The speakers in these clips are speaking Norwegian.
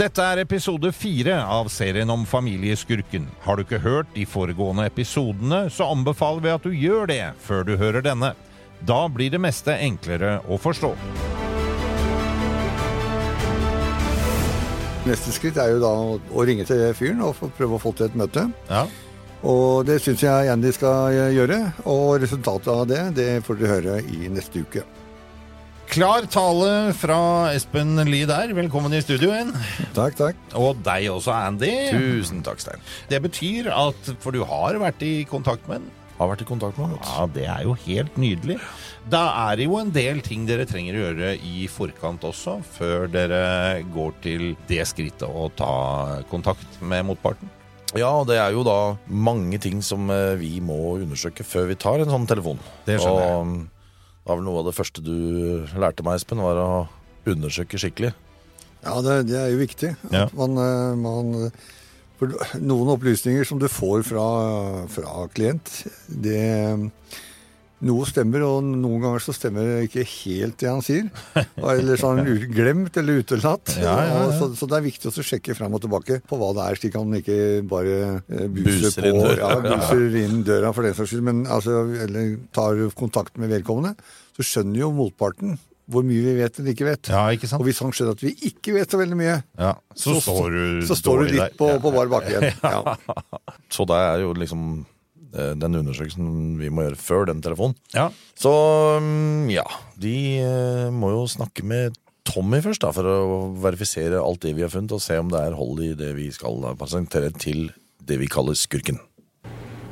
Dette er episode fire av serien om familieskurken. Har du ikke hørt de foregående episodene, så anbefaler vi at du gjør det før du hører denne. Da blir det meste enklere å forstå. Neste skritt er jo da å, å ringe til fyren og få- prøve å få til et møte. Ja. Og det syns jeg Andy skal eh, gjøre. Og resultatet av det, det får dere høre i neste uke. Klar tale fra Espen Lie der. Velkommen i studio igjen. Takk, takk. Og deg også, Andy. Tusen takk, Stein. Det betyr at For du har vært i kontakt med den? Har vært i kontakt med ham. Ja, det er jo helt nydelig. Da er det jo en del ting dere trenger å gjøre i forkant også, før dere går til det skrittet å ta kontakt med motparten. Ja, og det er jo da mange ting som eh, vi må undersøke før vi tar en sånn telefon. Det skjønner jeg. og, mm, Det var vel noe av det første du lærte meg, Espen, var å undersøke skikkelig. Ja, det, det er jo viktig. at Ja. Man, eh, man, for noen opplysninger som du får fra, fra klient, det noe stemmer, og noen ganger så stemmer det ikke helt det han sier. Eller så har han ut- glemt eller utelatt. Ja, ja, ja. Og Så, så det er viktig å sjekke frem og tilbake på hva det er, slik han ikke bare eh, buser, Buser på, inn døra. Ja, buser inn døra for den saks skyld, men altså, eller tar kontakt med vedkommende. Så skjønner jo motparten hvor mye vi vet eller ikke vet. Ja, ikke Og hvis han skjønner at vi ikke vet så veldig mye, Ja, så, så- står du så står du dårlig litt der. på, Ja. på bar bakke igjen. Ja. Så det er jo liksom eh, den undersøkelsen vi må gjøre før den telefonen. Ja. Så mm, ja, de eh, må jo snakke med Tommy først, da, for å verifisere alt det vi har funnet, og se om det er hold i det vi skal da presentere til det vi kaller skurken.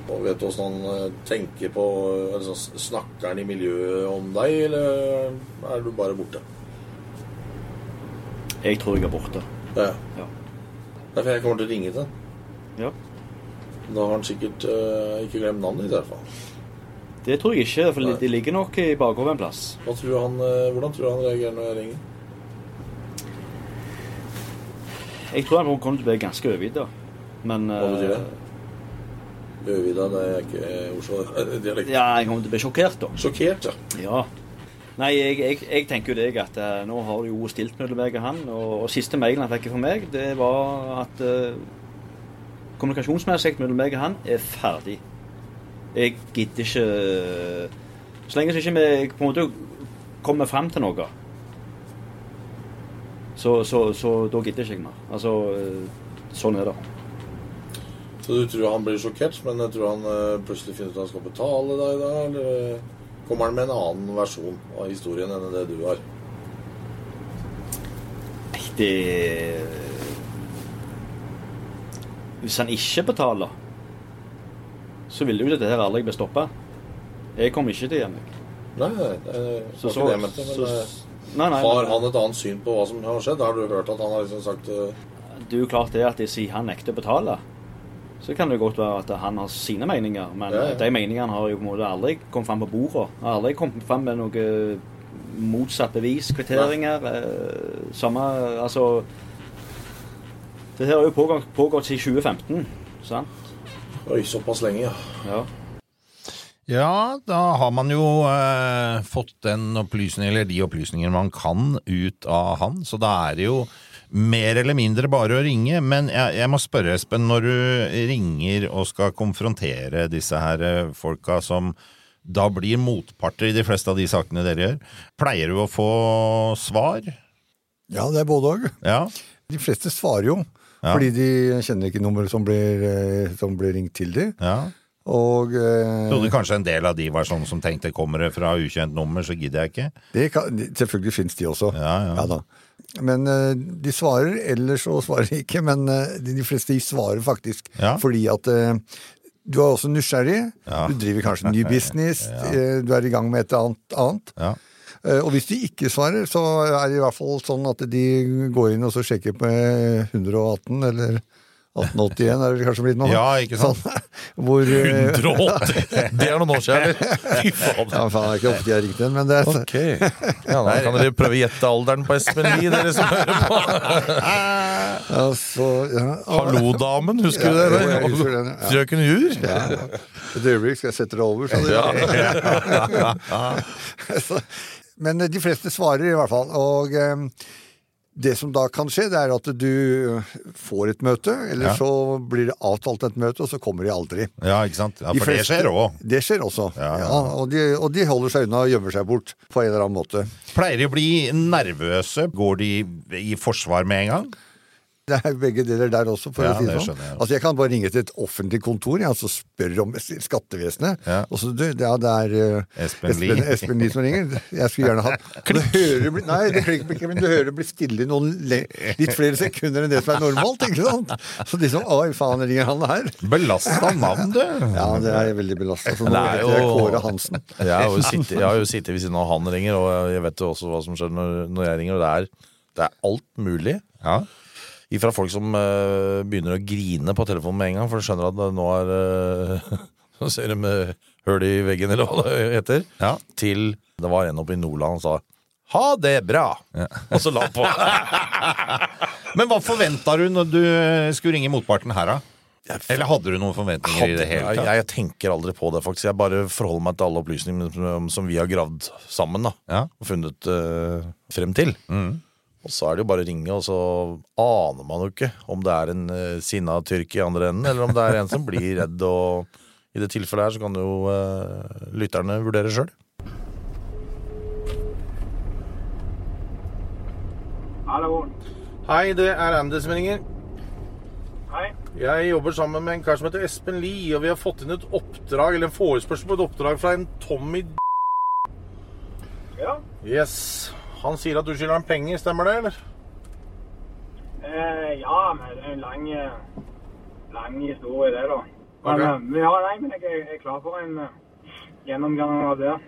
Og vet du åssen han eh, tenker på eh, altså, Snakker han i miljøet om deg, eller er du bare borte? Jeg tror jeg er borte. Ja. Ja. Derfor jeg kommer til å ringe til ham. Ja. Da har han sikkert eh, ikke glemt navnet ditt, i hvert fall. Det tror jeg ikke, for de ligger nok i bakhodet en plass. hvordan tror du han reagerer når jeg ringer? Jeg tror han kommer til å bli ganske overvidda. Men Hva betyr det? eh, Øvida, Eh, det er ikke eh, Oslo-dialekt. Ja, jeg kommer til å bli sjokkert, da. Sjokkert, ja. Ja. Nei, jeg, jeg, jeg tenker jo deg at eh, nå har du jo stilt mellom meg og han, og, og siste mailen han fikk fra meg, det var at eh, kommunikasjonsmessig mellom meg og han er ferdig. Jeg gidder ikke Så lenge så ikke vi på en måte kommer fram til noe, så, så, så da gidder ikke jeg mer. Altså, eh, sånn er det. Så du tror han blir sjokkert, men jeg tror han eh, plutselig finner ut at han skal betale deg da, eller eh, kommer han med en annen versjon av historien enn det du har? Nei, det Hvis han ikke betaler, så vil jo dette her aldri bli stoppa. Jeg kommer ikke til å gjøre meg. Nei, nei, det er Så- ikke det jeg mente, men eh, Nei, nei, har men- han et annet syn på hva som har skjedd? Har du hørt at han har liksom sagt eh, Det er jo klart det at siden han nekter å betale, så kan det godt være at han har sine meninger, men Ja, ja. de meningene har jo på en måte aldri kommet fram på bordet. Har aldri kommet fram med noe eh, motsatt bevis, kvitteringer, eh, samme Altså Det her har jo pågått, pågått siden 2015, sant? Oi, såpass lenge, ja. Ja. Ja, da har man jo eh, fått den opplysning, eller de opplysninger man kan ut av han, så da er det jo mer eller mindre bare å ringe. Men jeg, jeg må spørre, Espen, når du ringer og skal konfrontere disse her eh, folka som da blir motparter i de fleste av de sakene dere gjør, pleier du å få svar? ja, det er både òg. Ja. De fleste svarer jo. Ja. Fordi de kjenner ikke nummeret som blir, eh, som blir ringt til dem. ja. Og eh, Trodde kanskje en del av de var sånn som tenkte kommer det fra ukjent nummer, så gidder jeg ikke. det kan, de- selvfølgelig finnes de også. Ja, ja. da. Men eh, de svarer, eller så svarer de ikke. Men eh, de de fleste de svarer faktisk. Ja. Fordi at eh, du er også nysgjerrig. Ja. Du driver kanskje ny business. eh, Du er i gang med et eller annet. annet. Ja. Eh, Og hvis de ikke svarer, så er det i hvert fall sånn at de går inn og så sjekker med 118 eller 1881 er det kanskje blitt nå? Ja, ikke sant? Sånn, hvor, eh, 180! Det er noen år siden, eller? Fy Ja, faen. faen, det er ikke ofte jeg har ringt den, men det er Ok. Ja, da kan dere prøve å gjette alderen på Espen Lie, dere som hører på. altså, ja. Hallo-damen, husker du det? Ja, jeg husker den, der? ja. Frøken Jur? Ja, ja. Et øyeblikk skal jeg sette deg over. Så det, Så- Men de fleste svarer i hvert fall. Og eh, det som da kan skje, det er at du får et møte, eller Ja. så blir det avtalt et møte, og så kommer de aldri. Ja, ikke sant? Ja, De for det fleste- skjer òg. Det skjer også. Ja, Ja, ja. og, de, og de holder seg unna og gjemmer seg bort på en eller annen måte. Pleier de å bli nervøse? Går de i forsvar med en gang? Det er begge deler der også, for Ja, å si det det sånn. skjønner jeg. Altså, jeg kan bare ringe til et offentlig kontor jeg, og så spørre om skattevesenet. Ja. Og så, du, ja, det er eh, Espen Lie. Espen, Espen Lie som ringer. Jeg skulle gjerne hatt Du hører, bli- Nei, det klikker ikke, men du hører det blir stille i noen le, litt flere sekunder enn det som er normalt, ikke sant? Så de som Oi, faen, ringer han her? Belasta navn, du! Ja, det er veldig belasta. Så nå Det er vet jeg jo- Kåre Hansen. Jeg har jo sittet, jeg har jo sittet ved siden av han ringer, og jeg vet jo også hva som skjer når, når jeg ringer. Og det er, det er alt mulig. Ja. Ifra folk som eh, begynner å grine på telefonen med en gang, for de skjønner at det nå er eh, Nå ser de med høl i veggen, eller hva det heter. Ja. Til det var en oppe i Nordland som sa ha det bra! Og så la han på. Men hva forventa du når du eh, skulle ringe motparten her, da? Eller hadde du noen forventninger i det hele jeg, tatt? jeg tenker aldri på det, faktisk. Jeg bare forholder meg til alle opplysningene som, som vi har gravd sammen da, Ja. og funnet eh, frem til. Og så er det jo bare å ringe, og så aner man jo ikke om det er en uh, sinna tyrk i andre enden, eller om det er en som blir redd. og I det tilfellet her så kan jo eh, lytterne vurdere sjøl. Hallo. Hei, det er Andy som ringer. Hei. Jeg jobber sammen med en kar som heter Espen Lie, og vi har fått inn et oppdrag, eller en forespørsel på et oppdrag fra en Tommy D- Ja. Yes. Han sier at du skylder ham penger, stemmer det, eller? Eh, ja, men det er en lang, eh, lang historie, det, da. Men, Ok. eh, men ja, nei, men jeg er- jeg er klar for en eh, gjennomgang av det.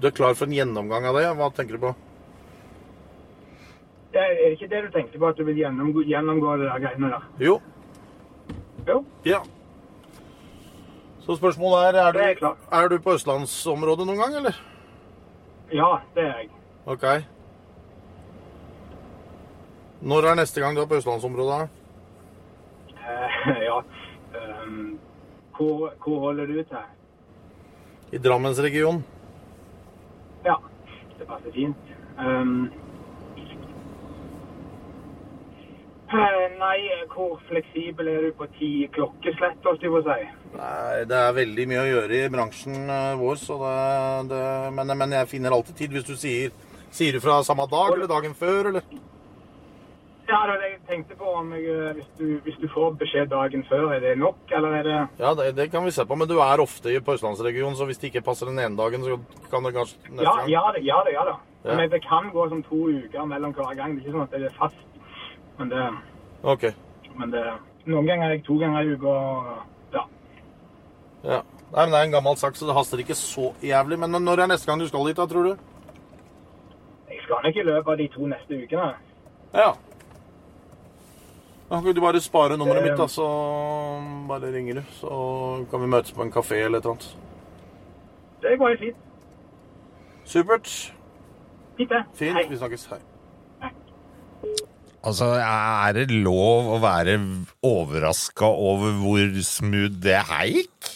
Du er klar for en gjennomgang av det? Hva tenker du på? det. Er det ikke det du tenkte på, at du vil gjennomgå, gjennomgå det der greiene der? Jo. Jo. Ja. Så spørsmålet er Jeg er er du, klar. er du på østlandsområdet noen gang, eller? Ja, det er jeg. Ok. Når er neste gang du er på østlandsområdet? her? Eh, ja. Um, hvor, hvor holder du til? I Drammensregionen. Ja, det passer fint. Um, eh, nei, hvor fleksibel er du på ti klokkeslett, holdt jeg på å si? Nei, det er veldig mye å gjøre i bransjen eh, vår, så det, det men, men jeg finner alltid tid hvis du sier Sier du fra samme dag eller dagen før, eller? Ja, det var det jeg tenkte på. Om jeg, eh, hvis, du, hvis du får beskjed dagen før, er det nok? Eller er det Ja, det, det kan vi se på, men du er ofte i på østlandsregionen, så hvis det ikke passer den ene dagen, så kan det kanskje neste Ja, gang. ja det, ja det. Ja, da. Ja. Men det kan gå som to uker mellom hver gang. Det er ikke sånn at det er fast. Men det, Ok. men det Noen ganger er jeg to ganger i uka. og- Ja. Ja. Nei, men det er en gammel sak, så det haster ikke så jævlig. Men når er neste gang du skal dit, da, tror du? Jeg skal nok i løpet av de to neste ukene. Ja. Da kan du bare spare nummeret Eh. mitt, da, så bare ringer du. Så kan vi møtes på en kafé eller et eller annet. Det går helt fint. Supert. Fint, det. Fint. Hei. Vi snakkes. Hei. Altså, er det lov å være overraska over hvor smooth det her gikk?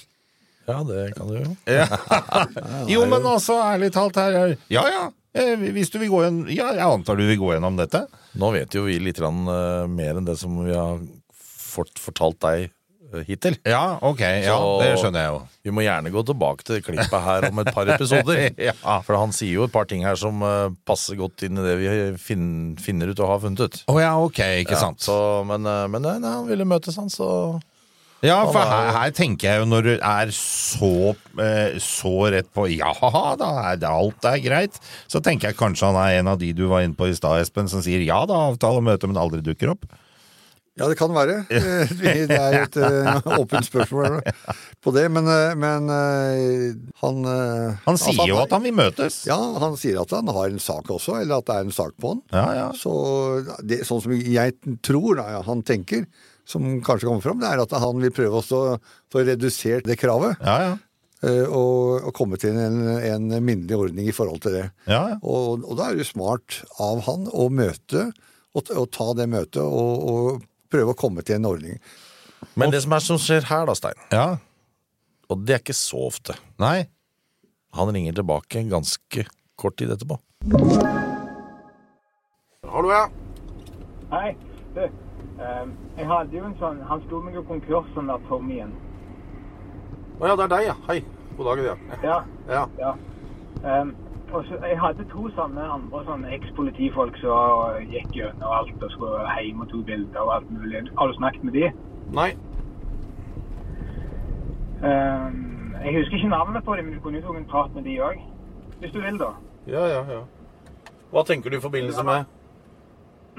Ja, det kan du jo. Jo, men altså, ærlig talt her er- Ja, ja. eh, Hvis du vil gå igjen Ja, jeg antar du vil gå gjennom dette? Nå vet jo vi litt grann, eh, mer enn det som vi har fort fortalt deg eh, hittil. Ja, ok. Ja, Så- det skjønner jeg jo. Vi må gjerne gå tilbake til det klippet her om et par episoder. Ja. For han sier jo et par ting her som eh, passer godt inn i det vi fin- finner ut og har funnet ut. Å ja, ok, ikke sant. Så, men eh, men nei, nei, han ville møtes, han, så Ja, for Han er her, jo- her tenker jeg jo når du er så, eh, så rett på Ja, haha, da er det alt er greit. Så tenker jeg kanskje han er en av de du var inne på i stad, Espen, som sier ja da, avtale og møte, men aldri dukker opp. Ja, det kan være. Eh, vi- Det er et eh, åpent spørsmål på det, men, eh, men eh, han eh, Han altså, sier jo at han vil møtes. Ja, han sier at han har en sak også, eller at det er en sak på han. Ja, ja. Så det, sånn som jeg tror da, ja, han tenker, som kanskje kommer fram, det er at han vil prøve også å få redusert det kravet, Ja, ja. eh, og, og komme til en, en minnelig ordning i forhold til det. ja, ja. Og, og da er det jo smart av han å møte, og, og ta det møtet, og, og prøve å komme til en ordning. Men det som er som skjer her, da, Stein, ja. og det er ikke så ofte Nei. Han ringer tilbake ganske kort tid etterpå. Hallo, ja. Hei, du. ehm, jeg hadde jo en sånn Han slo meg jo konkurs, den der Tommyen. Å ja, det er deg, ja. Hei. God dag, ja. Ja, ja. ja. Ehm, og så, jeg hadde to sånne andre sånne eks-politifolk som var- gikk gjennom alt og skulle hjem og tok bilder og alt mulig. Har du snakket med de? Nei. Ehm, jeg husker ikke navnet på dem, men du kunne jo tatt en prat med de òg. Hvis du vil, da. Ja, ja, ja. Hva tenker du i forbindelse med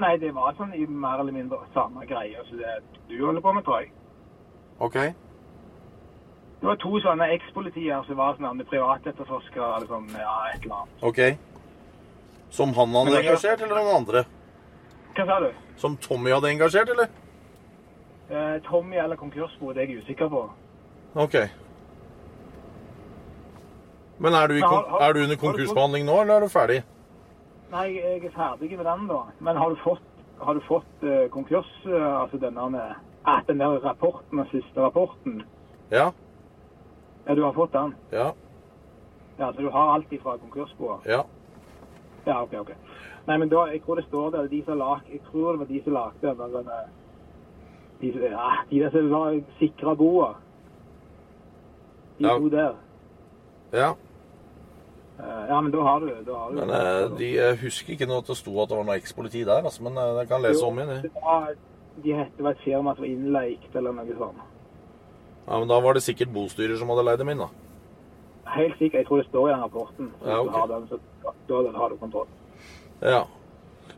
Nei, det var sånn i mer eller mindre samme greie som det du holder på med, tror jeg. OK. Det var to sånne eks-politier som var sånne privatetterforskere eller sånn, ja, et eller annet. OK. Som han hadde engasjert, eller noen andre? Hva sa du? Som Tommy hadde engasjert, eller? Eh, Tommy eller konkursbo, det er jeg usikker på. OK. Men er du, i kon er du under konkursbehandling nå, eller er du ferdig? Nei, jeg er ferdig med den, da. Men har du fått, har du fått eh, konkurs... eh, altså denne med at den der rapporten, den siste rapporten. Ja. Ja, du har fått den. Ja. Ja, så du har alt ifra konkursboet. Ja. Ja, OK, OK. Nei, men da, jeg tror det står der de som lag, Jeg tror det var de som lagde den der denne De, som- ja, de der som var sikra boa. De Ja. to der. ja. Eh, ja, men da har du da har du Men eh, de, jeg husker ikke noe at det sto at det var noe ekspoliti der, altså, men eh, jeg kan lese om igjen. jeg. Det var, de het, det var et firma som var innleikt eller noe sånt. Ja, men Da var det sikkert bostyrer som hadde leid dem inn, da. Helt sikkert. Jeg tror det står i den rapporten. Hvis Ja, ok. du har den, så da har du kontroll. Ja.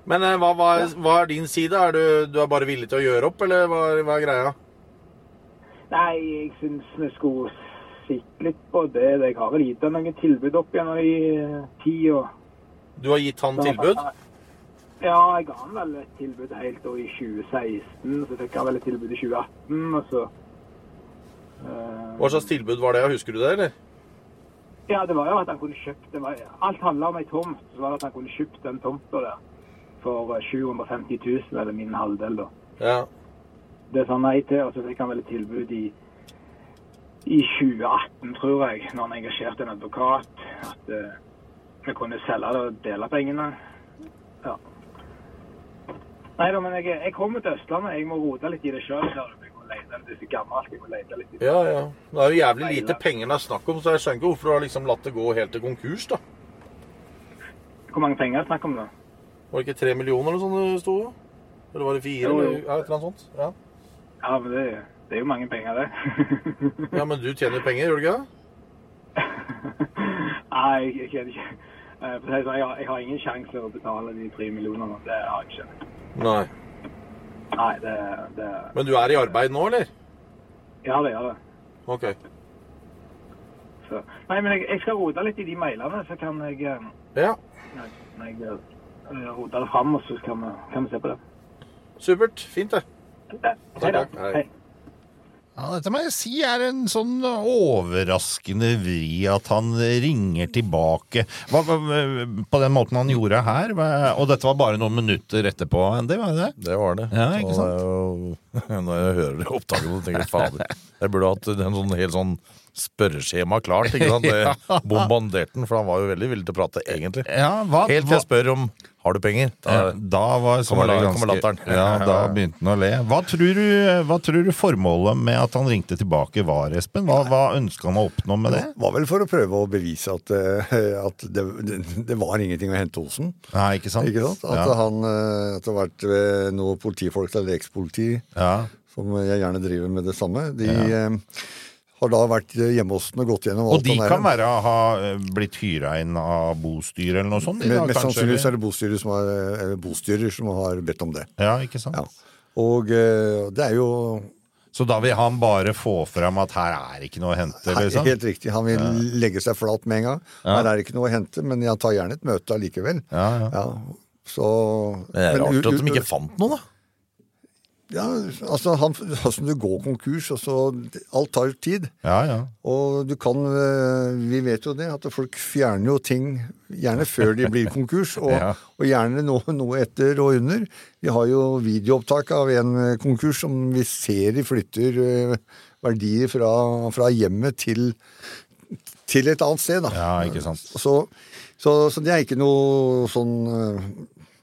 Men eh, hva, hva, er, hva er din side? Er du, du er bare villig til å gjøre opp, eller hva, er- hva er greia? Nei, jeg syns vi skulle sikte litt på det. Jeg har vel gitt deg noen tilbud opp gjennom i eh, tida. Du har gitt han tilbud? Ja, jeg ga han vel et tilbud helt da i 2016. Så fikk han vel et tilbud i 2018, og så eh, Hva slags tilbud var det? Husker du det, eller? Ja, det var jo at han kunne kjøpt det var, Alt handla om ei tomt. Så var det at han kunne kjøpt den tomta der for eh, 750 000, eller min halvdel, da. Ja. Det sa han nei til, og så fikk han vel et tilbud i, i 2018, tror jeg, når han engasjerte en advokat, at eh, vi kunne selge det og dele pengene. Ja. Nei da, men jeg, jeg kommer til Østlandet. Jeg må rote litt i det sjøl. Jeg må lete litt. Det er så gammelt. Jeg må lete litt i ja, ja. Det er jo jævlig lite penger det er snakk om, så jeg skjønner ikke hvorfor du har liksom latt det gå helt til konkurs, da. Hvor mange penger er det snakk om, da? Var det ikke tre millioner eller sånn det sto? Eller var det fire? Jo, jo. Eller, ja, et eller annet sånt. Ja. Ja, men det, det er jo mange penger, det. ja, men du tjener jo penger, gjør du ikke det? Nei, jeg, jeg kjenner ikke Eh, for å si det sånn, jeg, har- jeg har ingen sjanse til å betale de tre millionene. Det har jeg ikke. Nei. Nei, det, det Men du er i arbeid nå, eller? Ja, det gjør det. OK. Så. Nei, men jeg, jeg skal rote litt i de mailene, så kan jeg, eh, Ja, når jeg eh, rote det fram, og så kan vi, kan vi se på det. supert. Fint, det. Hei da. takk. Hei. Hei. Ja, dette må jeg si er en sånn overraskende vri, at han ringer tilbake hva, hva, på den måten han gjorde her. Hva, og dette var bare noen minutter etterpå, Andy, var det det? Det var det. Ja, ikke Og det er jo- Når jeg hører det i opptaket, så tenker jeg fader. Jeg burde hatt en sånn, helt sånn spørreskjema klart. ikke sant? Det Bombardert den, for han var jo veldig villig til å prate, egentlig. Ja, hva, Helt til jeg spør om har du penger. Ja, Da, da var Kommer svaret la- ganske- kommer latteren. Ja, da begynte han å le. Hva tror, du, hva tror du formålet med at han ringte tilbake var, Espen? Hva, hva ønska han å oppnå med det? var vel for å prøve å bevise at, eh, at det, det, det var ingenting å hente hos den. Nei, ikke sant? Ikke sant? At, Ja. han, eh, at det har vært eh, noen politifolk eller ekspoliti Ja. som jeg gjerne driver med det samme. De eh, har da vært hjemme hos den og gått gjennom Og de han er. kan være ha eh, blitt hyra inn av bostyret eller noe sånt? i dag, Men mest kanskje, sannsynligvis eller? er det bostyrer som har, eller bostyrer som har bedt om det. Ja, ikke sant? Ja. Og eh, det er jo Så da vil han bare få fram at her er ikke noe å hente, Nei, liksom? Helt riktig. Han vil legge seg flat med en gang. Her er det ikke noe å hente, men jeg tar gjerne et møte allikevel. Ja, ja. Så Det er men rart u- at de u- ikke fant noe, da. Ja, altså, han, altså du går konkurs, og så Alt tar jo tid. Ja, ja. Og du kan eh, Vi vet jo det, at folk fjerner jo ting gjerne før de blir konkurs, og, Ja. og gjerne noe, noe etter og under. Vi har jo videoopptak av en eh, konkurs som vi ser de flytter eh, verdier fra, fra hjemmet til, til et annet sted, da. ja, ikke sant. Så, så, så det er ikke noe sånn eh,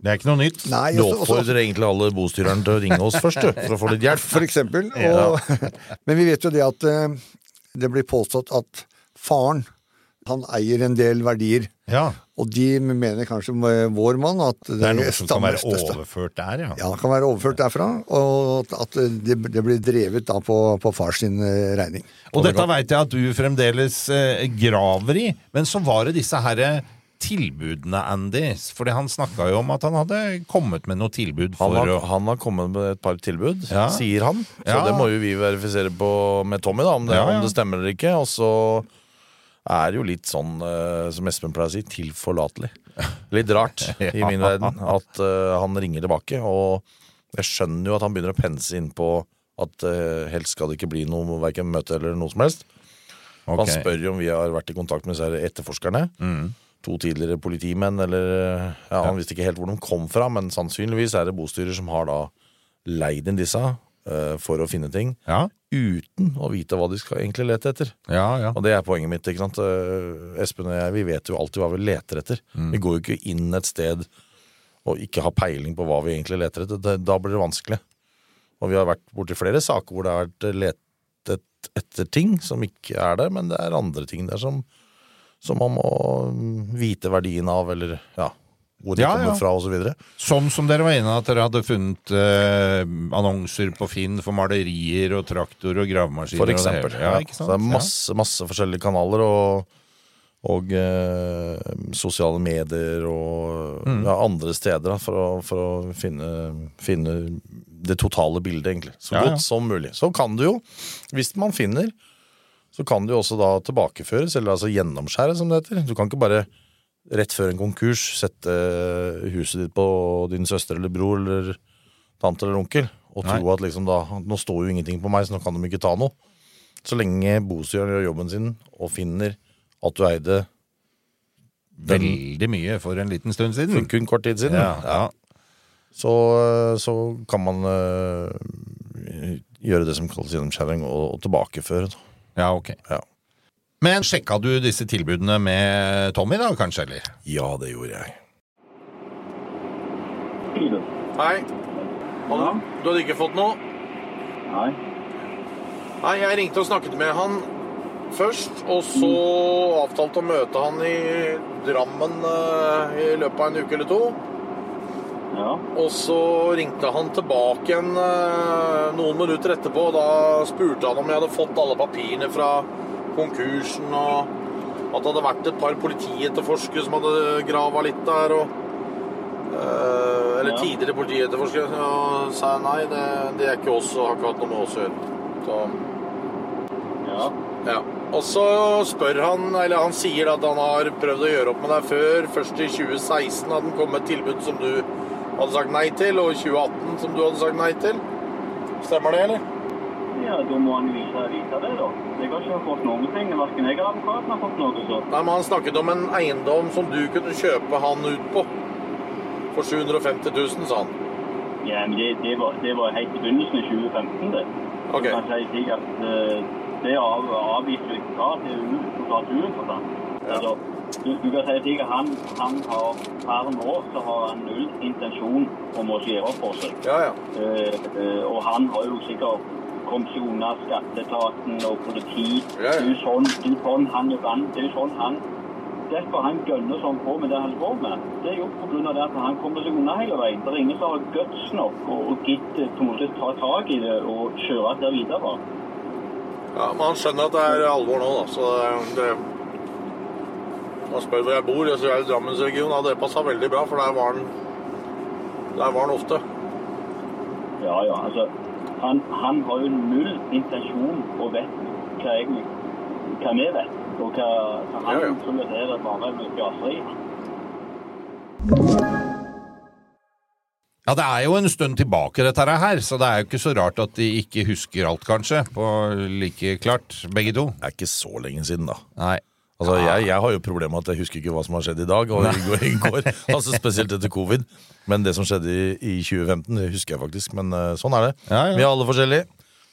Det er ikke noe nytt. Nei, altså, Du også- også- oppfordrer egentlig alle bostyrerne til å ringe oss først, du, for å få litt hjelp. for eksempel. Og, men vi vet jo det at eh, det blir påstått at faren, han eier en del verdier. Ja, Og de mener kanskje med vår mann at Det er noe som kan være stammens beste. overført der, ja. Ja, det kan være overført derfra, og at det, det blir drevet da på, på fars sin eh, regning. Og dette veit jeg at du fremdeles eh, graver i, men så var det disse herre tilbudene, Andy. Fordi han snakka jo om at han hadde kommet med noe tilbud Han for har, å han har kommet med et par tilbud, Ja. sier han. Så Ja. det må jo vi verifisere på med Tommy, da, om det, Ja, ja. Om det stemmer eller ikke. Og så er det jo litt sånn, eh, som Espen pleier å si, tilforlatelig. Litt rart i min verden at eh, han ringer tilbake. Og jeg skjønner jo at han begynner å pense innpå at eh, helst skal det ikke bli noe verken møte eller noe som helst. Ok. Han spør jo om vi har vært i kontakt med disse her etterforskerne. To tidligere politimenn, eller ja, Han visste ikke helt hvor de kom fra, men sannsynligvis er det bostyrer som har da leid inn disse eh, for å finne ting, Ja, uten å vite hva de skal egentlig lete etter. ja. ja. Og det er poenget mitt. ikke sant? Eh, Espen og jeg vi vet jo alltid hva vi leter etter. Mm. Vi går jo ikke inn et sted og ikke har peiling på hva vi egentlig leter etter. Da- Da blir det vanskelig. Og vi har vært borti flere saker hvor det har vært letet etter ting som ikke er der, men det er andre ting der som, som man må mm, vite verdien av, eller ja, hvor de Ja, kommer ja. fra, osv. Sånn som dere var inne på at dere hadde funnet eh, annonser på Finn for malerier og traktor og gravemaskiner. For og det eksempel. hele. Ja, Ja, ikke sant? Så det er masse, masse forskjellige kanaler og, og eh, sosiale medier og Mm. ja, andre steder da, for å, for å finne, finne det totale bildet, egentlig. Så Ja, ja. godt som mulig. Så kan du jo, hvis man finner, så kan det jo også da tilbakeføres, eller altså gjennomskjære, som det heter. Du kan ikke bare rett før en konkurs sette huset ditt på din søster eller bror eller tante eller onkel og tro Nei. at liksom da Nå står jo ingenting på meg, så nå kan de ikke ta noe. Så lenge bostyreren gjør jobben sin og finner at du eide Ja. Veldig mye for en liten stund siden. for kun kort tid siden, Ja, ja. så, så kan man øh, gjøre det som kalles gjennomskjæring, og, og tilbakeføre. da. ja, ok. Ja. Men sjekka du disse tilbudene med Tommy, da, kanskje? eller? ja, det gjorde jeg. Hei. Hallo. Du hadde ikke fått noe? Nei. Nei, jeg ringte og snakket med han først, og så avtalte å møte han i Drammen eh, i løpet av en uke eller to. Ja. Og så ringte han tilbake igjen eh, noen minutter etterpå, og da spurte han om jeg hadde fått alle papirene fra konkursen, og at det hadde vært et par politietterforskere som hadde grava litt der, og eh, Eller Ja. tidligere politietterforskere. Og sa jeg, nei, det, det er ikke oss, og har ikke hatt noe med oss å gjøre. Så... Ja. Ja. Og så spør han, eller han sier at han har prøvd å gjøre opp med deg før. Først i 2016 hadde han kommet med et tilbud som du hadde sagt nei til, og i 2018 som du hadde sagt nei til. Stemmer det, eller? ja, da må han vise, vise det, da. Jeg har ikke fått noen ting. Verken jeg eller advokaten har fått noe, så. Nei, men han snakket om en eiendom som du kunne kjøpe han ut på. For 750 000, sa han. Ja, men det, det, var, det var helt i begynnelsen av 2015, det. Ok. Jeg kan si slik at eh, det å av, avvise et krav, det er jo totalt uinteressant. Altså, du, du kan si slik at han, han har per nå så har han null intensjon om å gjøre opp for seg. Ja, ja. Eh, eh, og han har jo sikkert kommet seg unna skatteetaten og politi. Ja, ja. Det er jo sånn, det er jo sånn han er vant. Det er jo sånn han Derfor han gønner sånn på med det han holder på med. Det er jo på grunn av det at han kommer seg unna hele veien. Det er ingen som har guts nok og, og gidder på en måte ta tak i det og kjøre det videre. ja men han skjønner at det er alvor nå, da. Så det, det Han spør hvor jeg bor, og så er det Drammensregionen. Ja, det passa veldig bra, for der var han, der var han ofte. Ja, ja. Altså, han, han har jo null intensjon og vet hva, jeg, hva vi vet. Og hva så han Ja, ja. som er der, er bare noe jaseri. Ja, det er jo en stund tilbake dette her, så det er jo ikke så rart at de ikke husker alt, kanskje, på like klart, begge to. Det er ikke så lenge siden, da. Nei. Altså, jeg, jeg har jo problemer med at jeg husker ikke hva som har skjedd i dag og i går. i går. Altså, spesielt etter covid. Men det som skjedde i, i 2015, det husker jeg faktisk. Men eh, sånn er det. Ja, ja. Vi er alle forskjellige.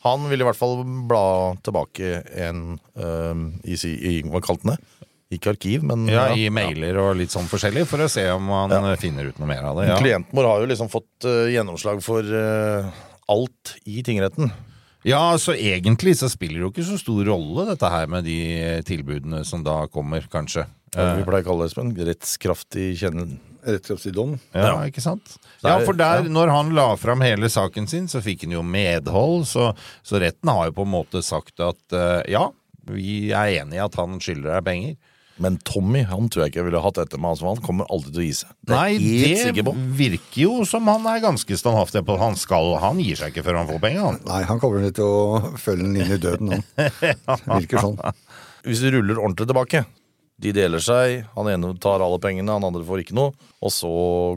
Han ville i hvert fall bla tilbake en eh, i, si- i Hva kalte han det? Ikke arkiv, men Ja, ja. i mailer og litt sånn forskjellig, for å se om han eh, finner ut noe mer av det. Ja, Klienten vår har jo liksom fått eh, gjennomslag for eh, alt i tingretten. ja så egentlig så spiller det jo ikke så stor rolle dette her med de eh, tilbudene som da kommer, kanskje. Hva er det vi pleier å kalle det, Espen? Rettskraftig kjennelse. Rett og slett i dom. Ja, Ja. ikke sant? er- ja, for der, ja. når han la fram hele saken sin, så fikk han jo medhold, så, så retten har jo på en måte sagt at eh, ja, vi er enig i at han skylder deg penger. Men Tommy han tror jeg ikke jeg ville hatt etter meg. Altså, han kommer aldri til å gi seg. Det er Nei, jeg helt det sikker på. virker jo som han er ganske standhaftig på. Han skal, han gir seg ikke før han får penger, han. Nei, han kommer til å følge den inn i døden, han. Virker sånn. Hvis du ruller ordentlig tilbake De deler seg, han ene tar alle pengene Han andre får ikke noe Og så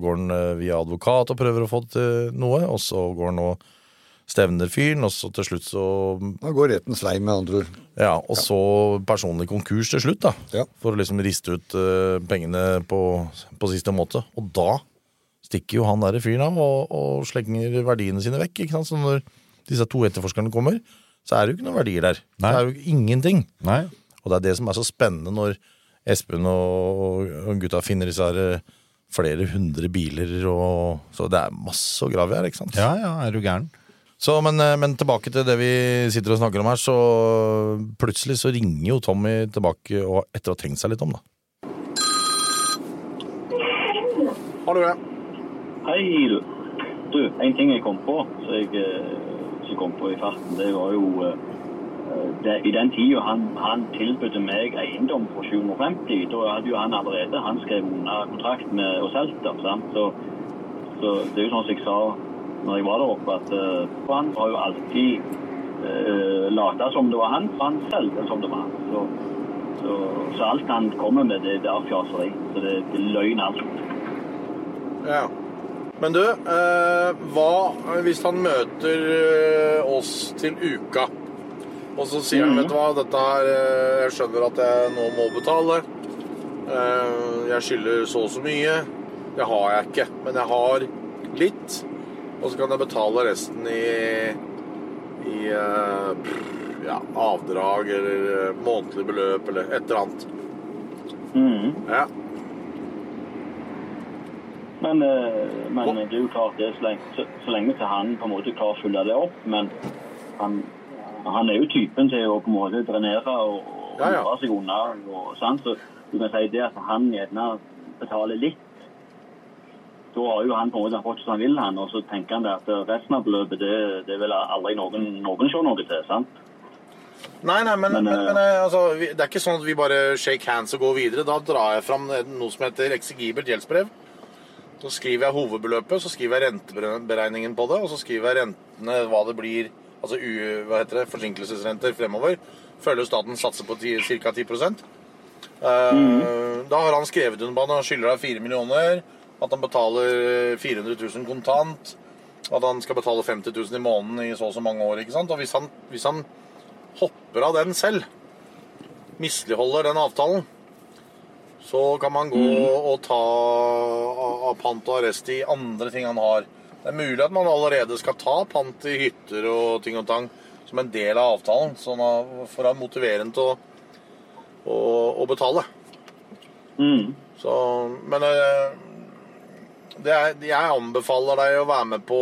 går han eh, via advokat og prøver å få til noe Og så går han og stevner fyren Og så til slutt så Da går rettens vei, med andre ord. Ja, og så personlig konkurs til slutt da Ja. For å liksom riste ut eh, pengene på, på siste måte Og da stikker jo han der fyren av Og, og slenger verdiene sine vekk Ikke sant? Så når disse to etterforskerne kommer Så er det jo ikke noen verdier der Nei. Det er jo ingenting Nei. og det er det som er så spennende når Espen og og gutta finner disse her eh, flere hundre biler og Så det er masse å grave i her, ikke sant? Ja, ja, er du gæren? Så, men, eh, men tilbake til det vi sitter og snakker om her, så plutselig så ringer jo Tommy tilbake og etter å ha tenkt seg litt om, da. Har du det? Hei, du. Du, en ting jeg kom på, som jeg, eh, som jeg kom på i farten, det var jo eh, eh, det, I den tida han, han tilbød meg eiendom for 750, da hadde jo han allerede han skrev under kontrakt med og solgt den. sant? Så, så det er jo sånn som jeg sa når jeg var der oppe, at eh, han har jo alltid uh, lata som det var han, for han solgte som det var han. Så, så, så alt han kommer med, det, det er fjaseri. Så det, det er løgn altså. alt. Ja. Men du, eh, hva hvis han møter eh, oss til uka, og så sier han, vet du hva, dette her, eh, jeg skjønner at jeg nå må betale, eh, jeg skylder så og så mye, det har jeg ikke, men jeg har litt, og så kan jeg betale resten i, i eh, pff, ja, avdrag, eller eh, månedlig beløp, eller et eller annet. Mhm. Ja. Men, eh, men det er jo klart det, er så lenge, så, så lenge til han på en måte klarer å følge det opp. Men han, han er jo typen til å på en måte drenere og, og Ja, ja. dra seg unna. Og, sant? Så du kan si det at han gjerne betaler litt. Da har jo han på en måte fått som han vil, han. Og så tenker han det at eh, resten av beløpet det, det vil aldri noen, noen se noe til. sant? Nei, nei, men, men, Men, eh, men, eh, altså, vi, det er ikke sånn at vi bare shake hands og går videre. Da drar jeg fram eh, noe som heter eksigibelt gjeldsbrev. Så skriver jeg hovedbeløpet, så skriver jeg renteberegningen på det, og så skriver jeg rentene, hva det blir, altså u, hva heter det, forsinkelsesrenter fremover. Følger staten satser på ca. 10 Eh, Mm. Da har han skrevet under på at han skylder deg 4 millioner, at han betaler eh, 400 000 kontant, at han skal betale 50 000 i måneden i så og så mange år, ikke sant? Og hvis han, hvis han hopper av den selv, misligholder den avtalen, så kan man gå og ta av av pant og arrest i andre ting han har. Det er mulig at man allerede skal ta pant i hytter og ting og tang som en del av avtalen, sånn at- for å motivere den til å, å, å betale. Mm. Så, men eh, det er, jeg anbefaler deg å være med på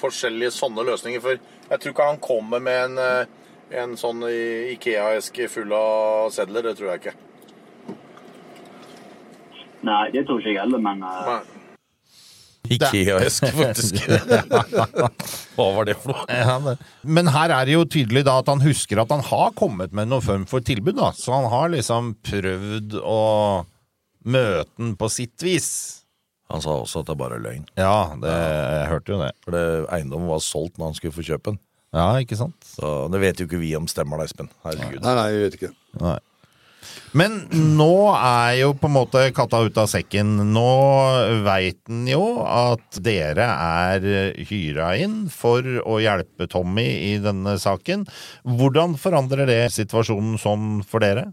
forskjellige sånne løsninger, for jeg tror ikke han kommer med en, eh, en sånn i- Ikea-eske full av sedler. Det tror jeg ikke. Nei, det tror ikke jeg heller, men eh, Nei. Ikea-esk, faktisk. Hva var det for noe? Ja, det- Men her er det jo tydelig da at han husker at han har kommet med noen form for tilbud, da. Så han har liksom prøvd å møte den på sitt vis. Han sa også at det bare er løgn. Ja, det, jeg hørte jo det. For det, eiendommen var solgt når han skulle få kjøpe den. Ja, ikke sant? Så det vet jo ikke vi om stemmer, da, Espen. Herregud. Nei, nei, jeg vet ikke. Nei. Men nå er jo på en måte katta ut av sekken. Nå veit den jo at dere er hyra inn for å hjelpe Tommy i denne saken. Hvordan forandrer det situasjonen sånn for dere?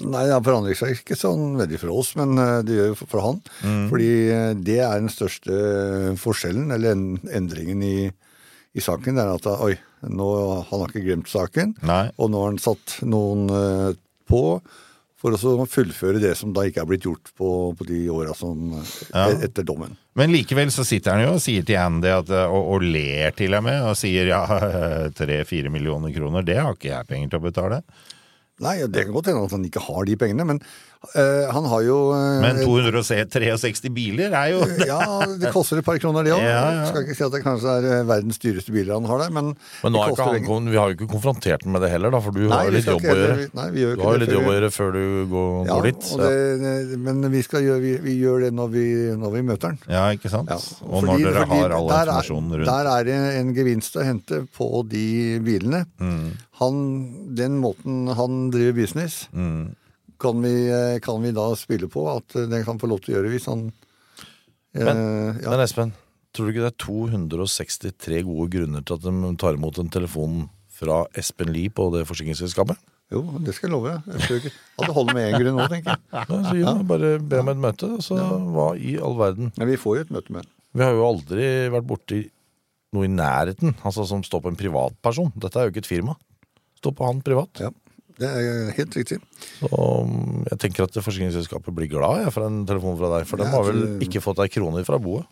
Nei, det forandrer seg ikke sånn veldig for oss, men eh, det gjør jo for for han. Mm. Fordi eh, det er den største eh, forskjellen, eller en, endringen i, i saken, det er at oi, nå, han har ikke glemt saken, Nei. og nå har han satt noen eh, på for også å fullføre det som da ikke er blitt gjort på, på de åra som Ja. et- etter dommen. Men likevel så sitter han jo og sier til Andy at, og, og ler til og med og sier ja, tre-fire millioner kroner, det har ikke jeg penger til å betale. Nei, det kan godt hende at han ikke har de pengene, men eh, han har jo eh, Men 263 biler er jo Ja, det koster et par kroner, det òg. Ja, ja. Skal ikke si at det kanskje er eh, verdens dyreste biler han har der, men, Men det nå er ikke koster han, penger. kon- vi har jo ikke konfrontert den med det heller, da, for du Nei, har jo vi litt skal jobb ikke å gjøre. heller- nei, vi gjør Du ikke har jo det litt før jobb å vi- gjøre før du går, går dit. og ja. det, men vi, skal gjøre, vi, vi gjør det når vi, når vi møter den. Ja, ikke sant? Ja, Og fordi- når dere fordi har all der er- informasjonen rundt. Der er det en gevinst å hente på de bilene. Mm. Han, den måten han driver business, Mm. kan, vi, eh, kan vi da spille på at eh, den kan få lov til å gjøre hvis han eh, ja. Men Espen, tror du ikke det er 263 gode grunner til at de tar imot en telefon fra Espen Lie på det forsikringsselskapet? Jo, det skal jeg love. Jeg tror ikke, ja, det holder med én grunn nå, tenker jeg. Nei, så ja, Bare be om et møte, og så hva i all verden? Men vi får jo et møte med den. Vi har jo aldri vært borti noe i nærheten, altså som står på en privatperson. Dette er jo ikke et firma. Står på han privat. Ja, det er eh, helt riktig. Så um, jeg tenker at forsikringsselskapet blir glad jeg, for en telefon fra deg, for de Ja, har jeg vel tror- ikke fått ei krone fra boet.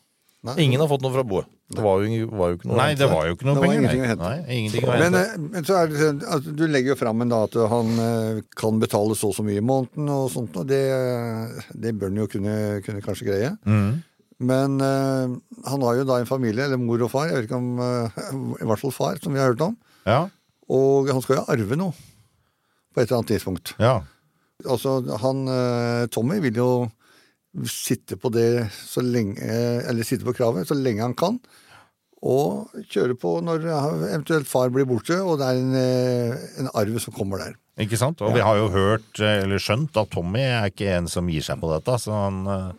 Nei. Ingen har fått noe fra boet. Det var jo, var jo ikke noe Nei, det var jo ikke noe Det var penger. ingenting å nei. hente. Nei, ingenting å Men, hente. eh, men så er det sånn at du legger jo fram en da at han eh, kan betale så og så mye i måneden og sånt, og det, eh, det bør han jo kunne, kunne kanskje greie. Men eh, han har jo da en familie, eller mor og far, jeg vet ikke om eh, I hvert fall far, som vi har hørt om. Ja, Og han skal jo arve noe på et eller annet tidspunkt. ja. Altså, han eh, Tommy vil jo sitte på det så lenge eh, Eller sitte på kravet så lenge han kan. Og kjøre på når eventuelt far blir borte, og det er en, eh, en arv som kommer der. Ikke sant? Og vi har jo hørt, eh, eller skjønt, at Tommy er ikke en som gir seg på dette. Så han eh,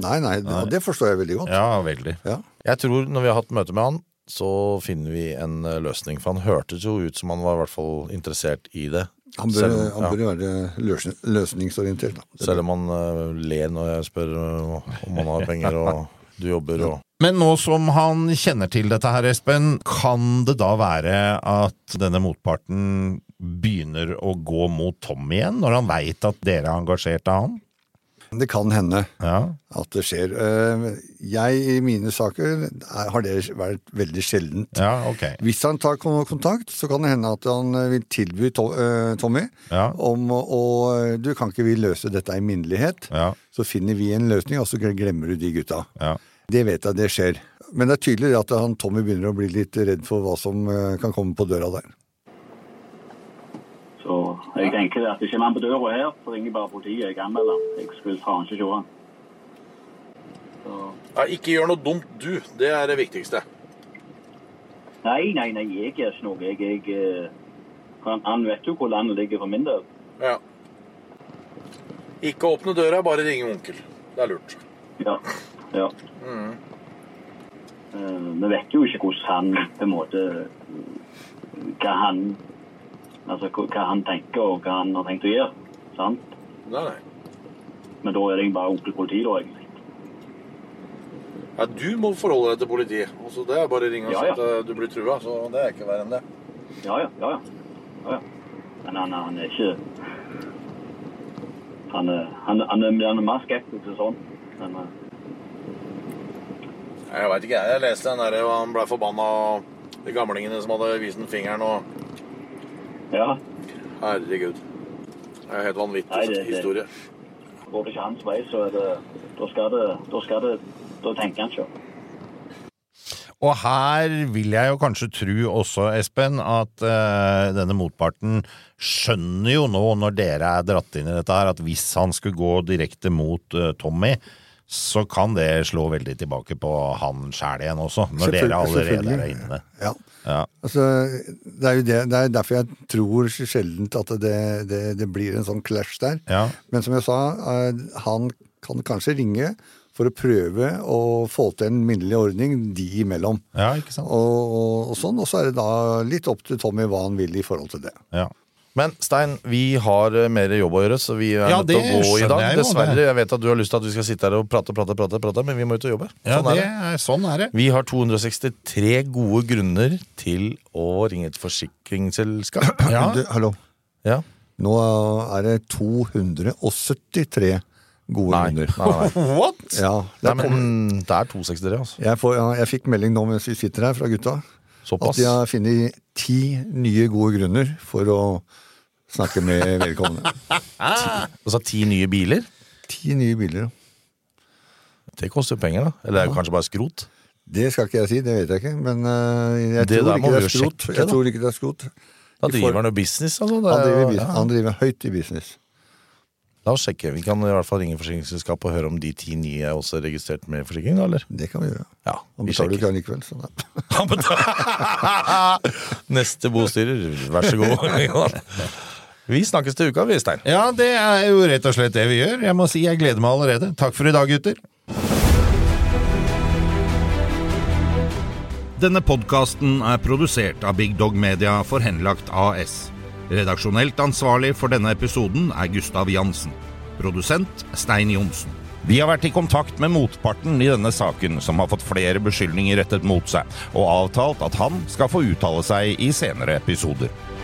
Nei, nei, det, og det forstår jeg veldig godt. Ja, veldig. Ja. Jeg tror når vi har hatt møte med han, så finner vi en eh, løsning. For han hørtes jo ut som han var i hvert fall interessert i det. Han bør, selv, om- han bør ja, være løsning, løsningsorientert. Da. Det- selv om han eh, ler når jeg spør eh, om han har penger og du jobber og Men nå som han kjenner til dette her, Espen, kan det da være at denne motparten begynner å gå mot Tom igjen, når han veit at dere er engasjert av han? Det kan hende Ja, at det skjer. Eh, Jeg, i mine saker, er, har det vært veldig sjeldent. ja ok. Hvis han tar kon- kontakt, så kan det hende at han eh, vil tilby To- eh, Tommy Ja. om å å, Du, kan ikke vi løse dette i minnelighet? Ja. Så finner vi en løsning, og så glemmer du de gutta. Ja. Det vet jeg det skjer. Men det er tydelig at han Tommy begynner å bli litt redd for hva som eh, kan komme på døra der. Så jeg tenker det at det kommer han på døra her, så ringer jeg bare politiet. Jeg anmelder han. Jeg skulle faen ikke se han. Så... Nei, ikke gjør noe dumt, du. Det er det viktigste. Nei, nei, nei, jeg gjør ikke noe. Jeg, jeg, eh, han, han vet jo hvor landet ligger for min del. Ja. Ikke åpne døra, bare ringe onkel. Det er lurt. Mm. Ja, ja. Eh, Vi vet jo ikke hvordan han på en måte Hva han Altså hva- hva han tenker og hva han har tenkt å gjøre. Sant? Nei, nei. Men da er det bare onkel politi, da, egentlig. Ja, du må forholde deg til politiet. Altså, det er bare å ringe og Ja, si ja. at eh, du blir trua. Så det er ikke verre enn det. Ja, ja, ja, ja. ja, ja. Men han, han er ikke Han er, han, han er, han er mer skeptisk til sånn. Men eh, Nei, Jeg veit ikke, jeg. Jeg leste den der hvor han blei forbanna av de gamlingene som hadde vist den fingeren og ja, Herregud. Det er helt vanvittig Nei, det- det- historie. går det ikke hans vei, så er det Da skal det Da, skal det, da tenker han sjøl. Og her vil jeg jo kanskje tro også, Espen, at eh, denne motparten skjønner jo nå, når dere er dratt inn i dette her, at hvis han skulle gå direkte mot eh, Tommy, så kan det slå veldig tilbake på han sjæl igjen også, når Selvfølgelig- dere allerede er selvfølgelig. inne. Ja. Ja. Altså, det er jo det, det er derfor jeg tror sjeldent at det, det, det blir en sånn clash der. Ja. Men som jeg sa, eh, han kan kanskje ringe for å prøve å få til en minnelig ordning de imellom. ja, ikke sant? Og, og, og sånn, og så er det da litt opp til Tommy hva han vil i forhold til det. Ja. Men Stein, vi har eh, mer jobb å gjøre, så vi er Ja, nødt til å det gå i skjønner dag. jeg jo, Dessverre. det. Jeg vet at du har lyst til at vi skal sitte her og prate, prate, prate, prate men vi må ut og jobbe. Ja, sånn det er det. er, sånn er det. Vi har 263 gode grunner til å ringe et forsikringsselskap. Ja. Du, hallo. Ja. Nå er det 273 gode Nei. nei, runder. nei. What?! Ja, nei der kom- men, det er 263, altså. jeg, får, ja, jeg fikk melding nå mens vi sitter her fra gutta. At Såpass. de har funnet ti nye gode grunner for å snakke med vedkommende. Altså ti nye biler. Ti nye biler. Det koster jo penger, da. Eller det er jo kanskje bare skrot. Det skal ikke jeg si, det vet jeg ikke. Men eh, jeg, Det der tror må ikke det vi er jo skrot. sjekke, jeg da. tror ikke det er skrot. Da I driver for- han jo business, altså. Det Han er, driver, jo- bus- ja. han driver høyt i business. La oss sjekke. Vi kan i hvert fall ringe forsikringsselskapet og høre om de ti nye er også registrert med forsikring, da, eller? Det kan vi gjøre. Ja, Han vi betaler jo sjekker. ikke allikevel. Så da. Han betaler. Neste bostyrer, vær så god. Vi snakkes til uka, vi, Stein. Ja, det er jo rett og slett det vi gjør. Jeg må si jeg gleder meg allerede. Takk for i dag, gutter. Denne podkasten er produsert av Big Dog Media for Henlagt AS. Redaksjonelt ansvarlig for denne episoden er Gustav Jansen. Produsent Stein Johnsen. Vi har vært i kontakt med motparten i denne saken, som har fått flere beskyldninger rettet mot seg, og avtalt at han skal få uttale seg i senere episoder.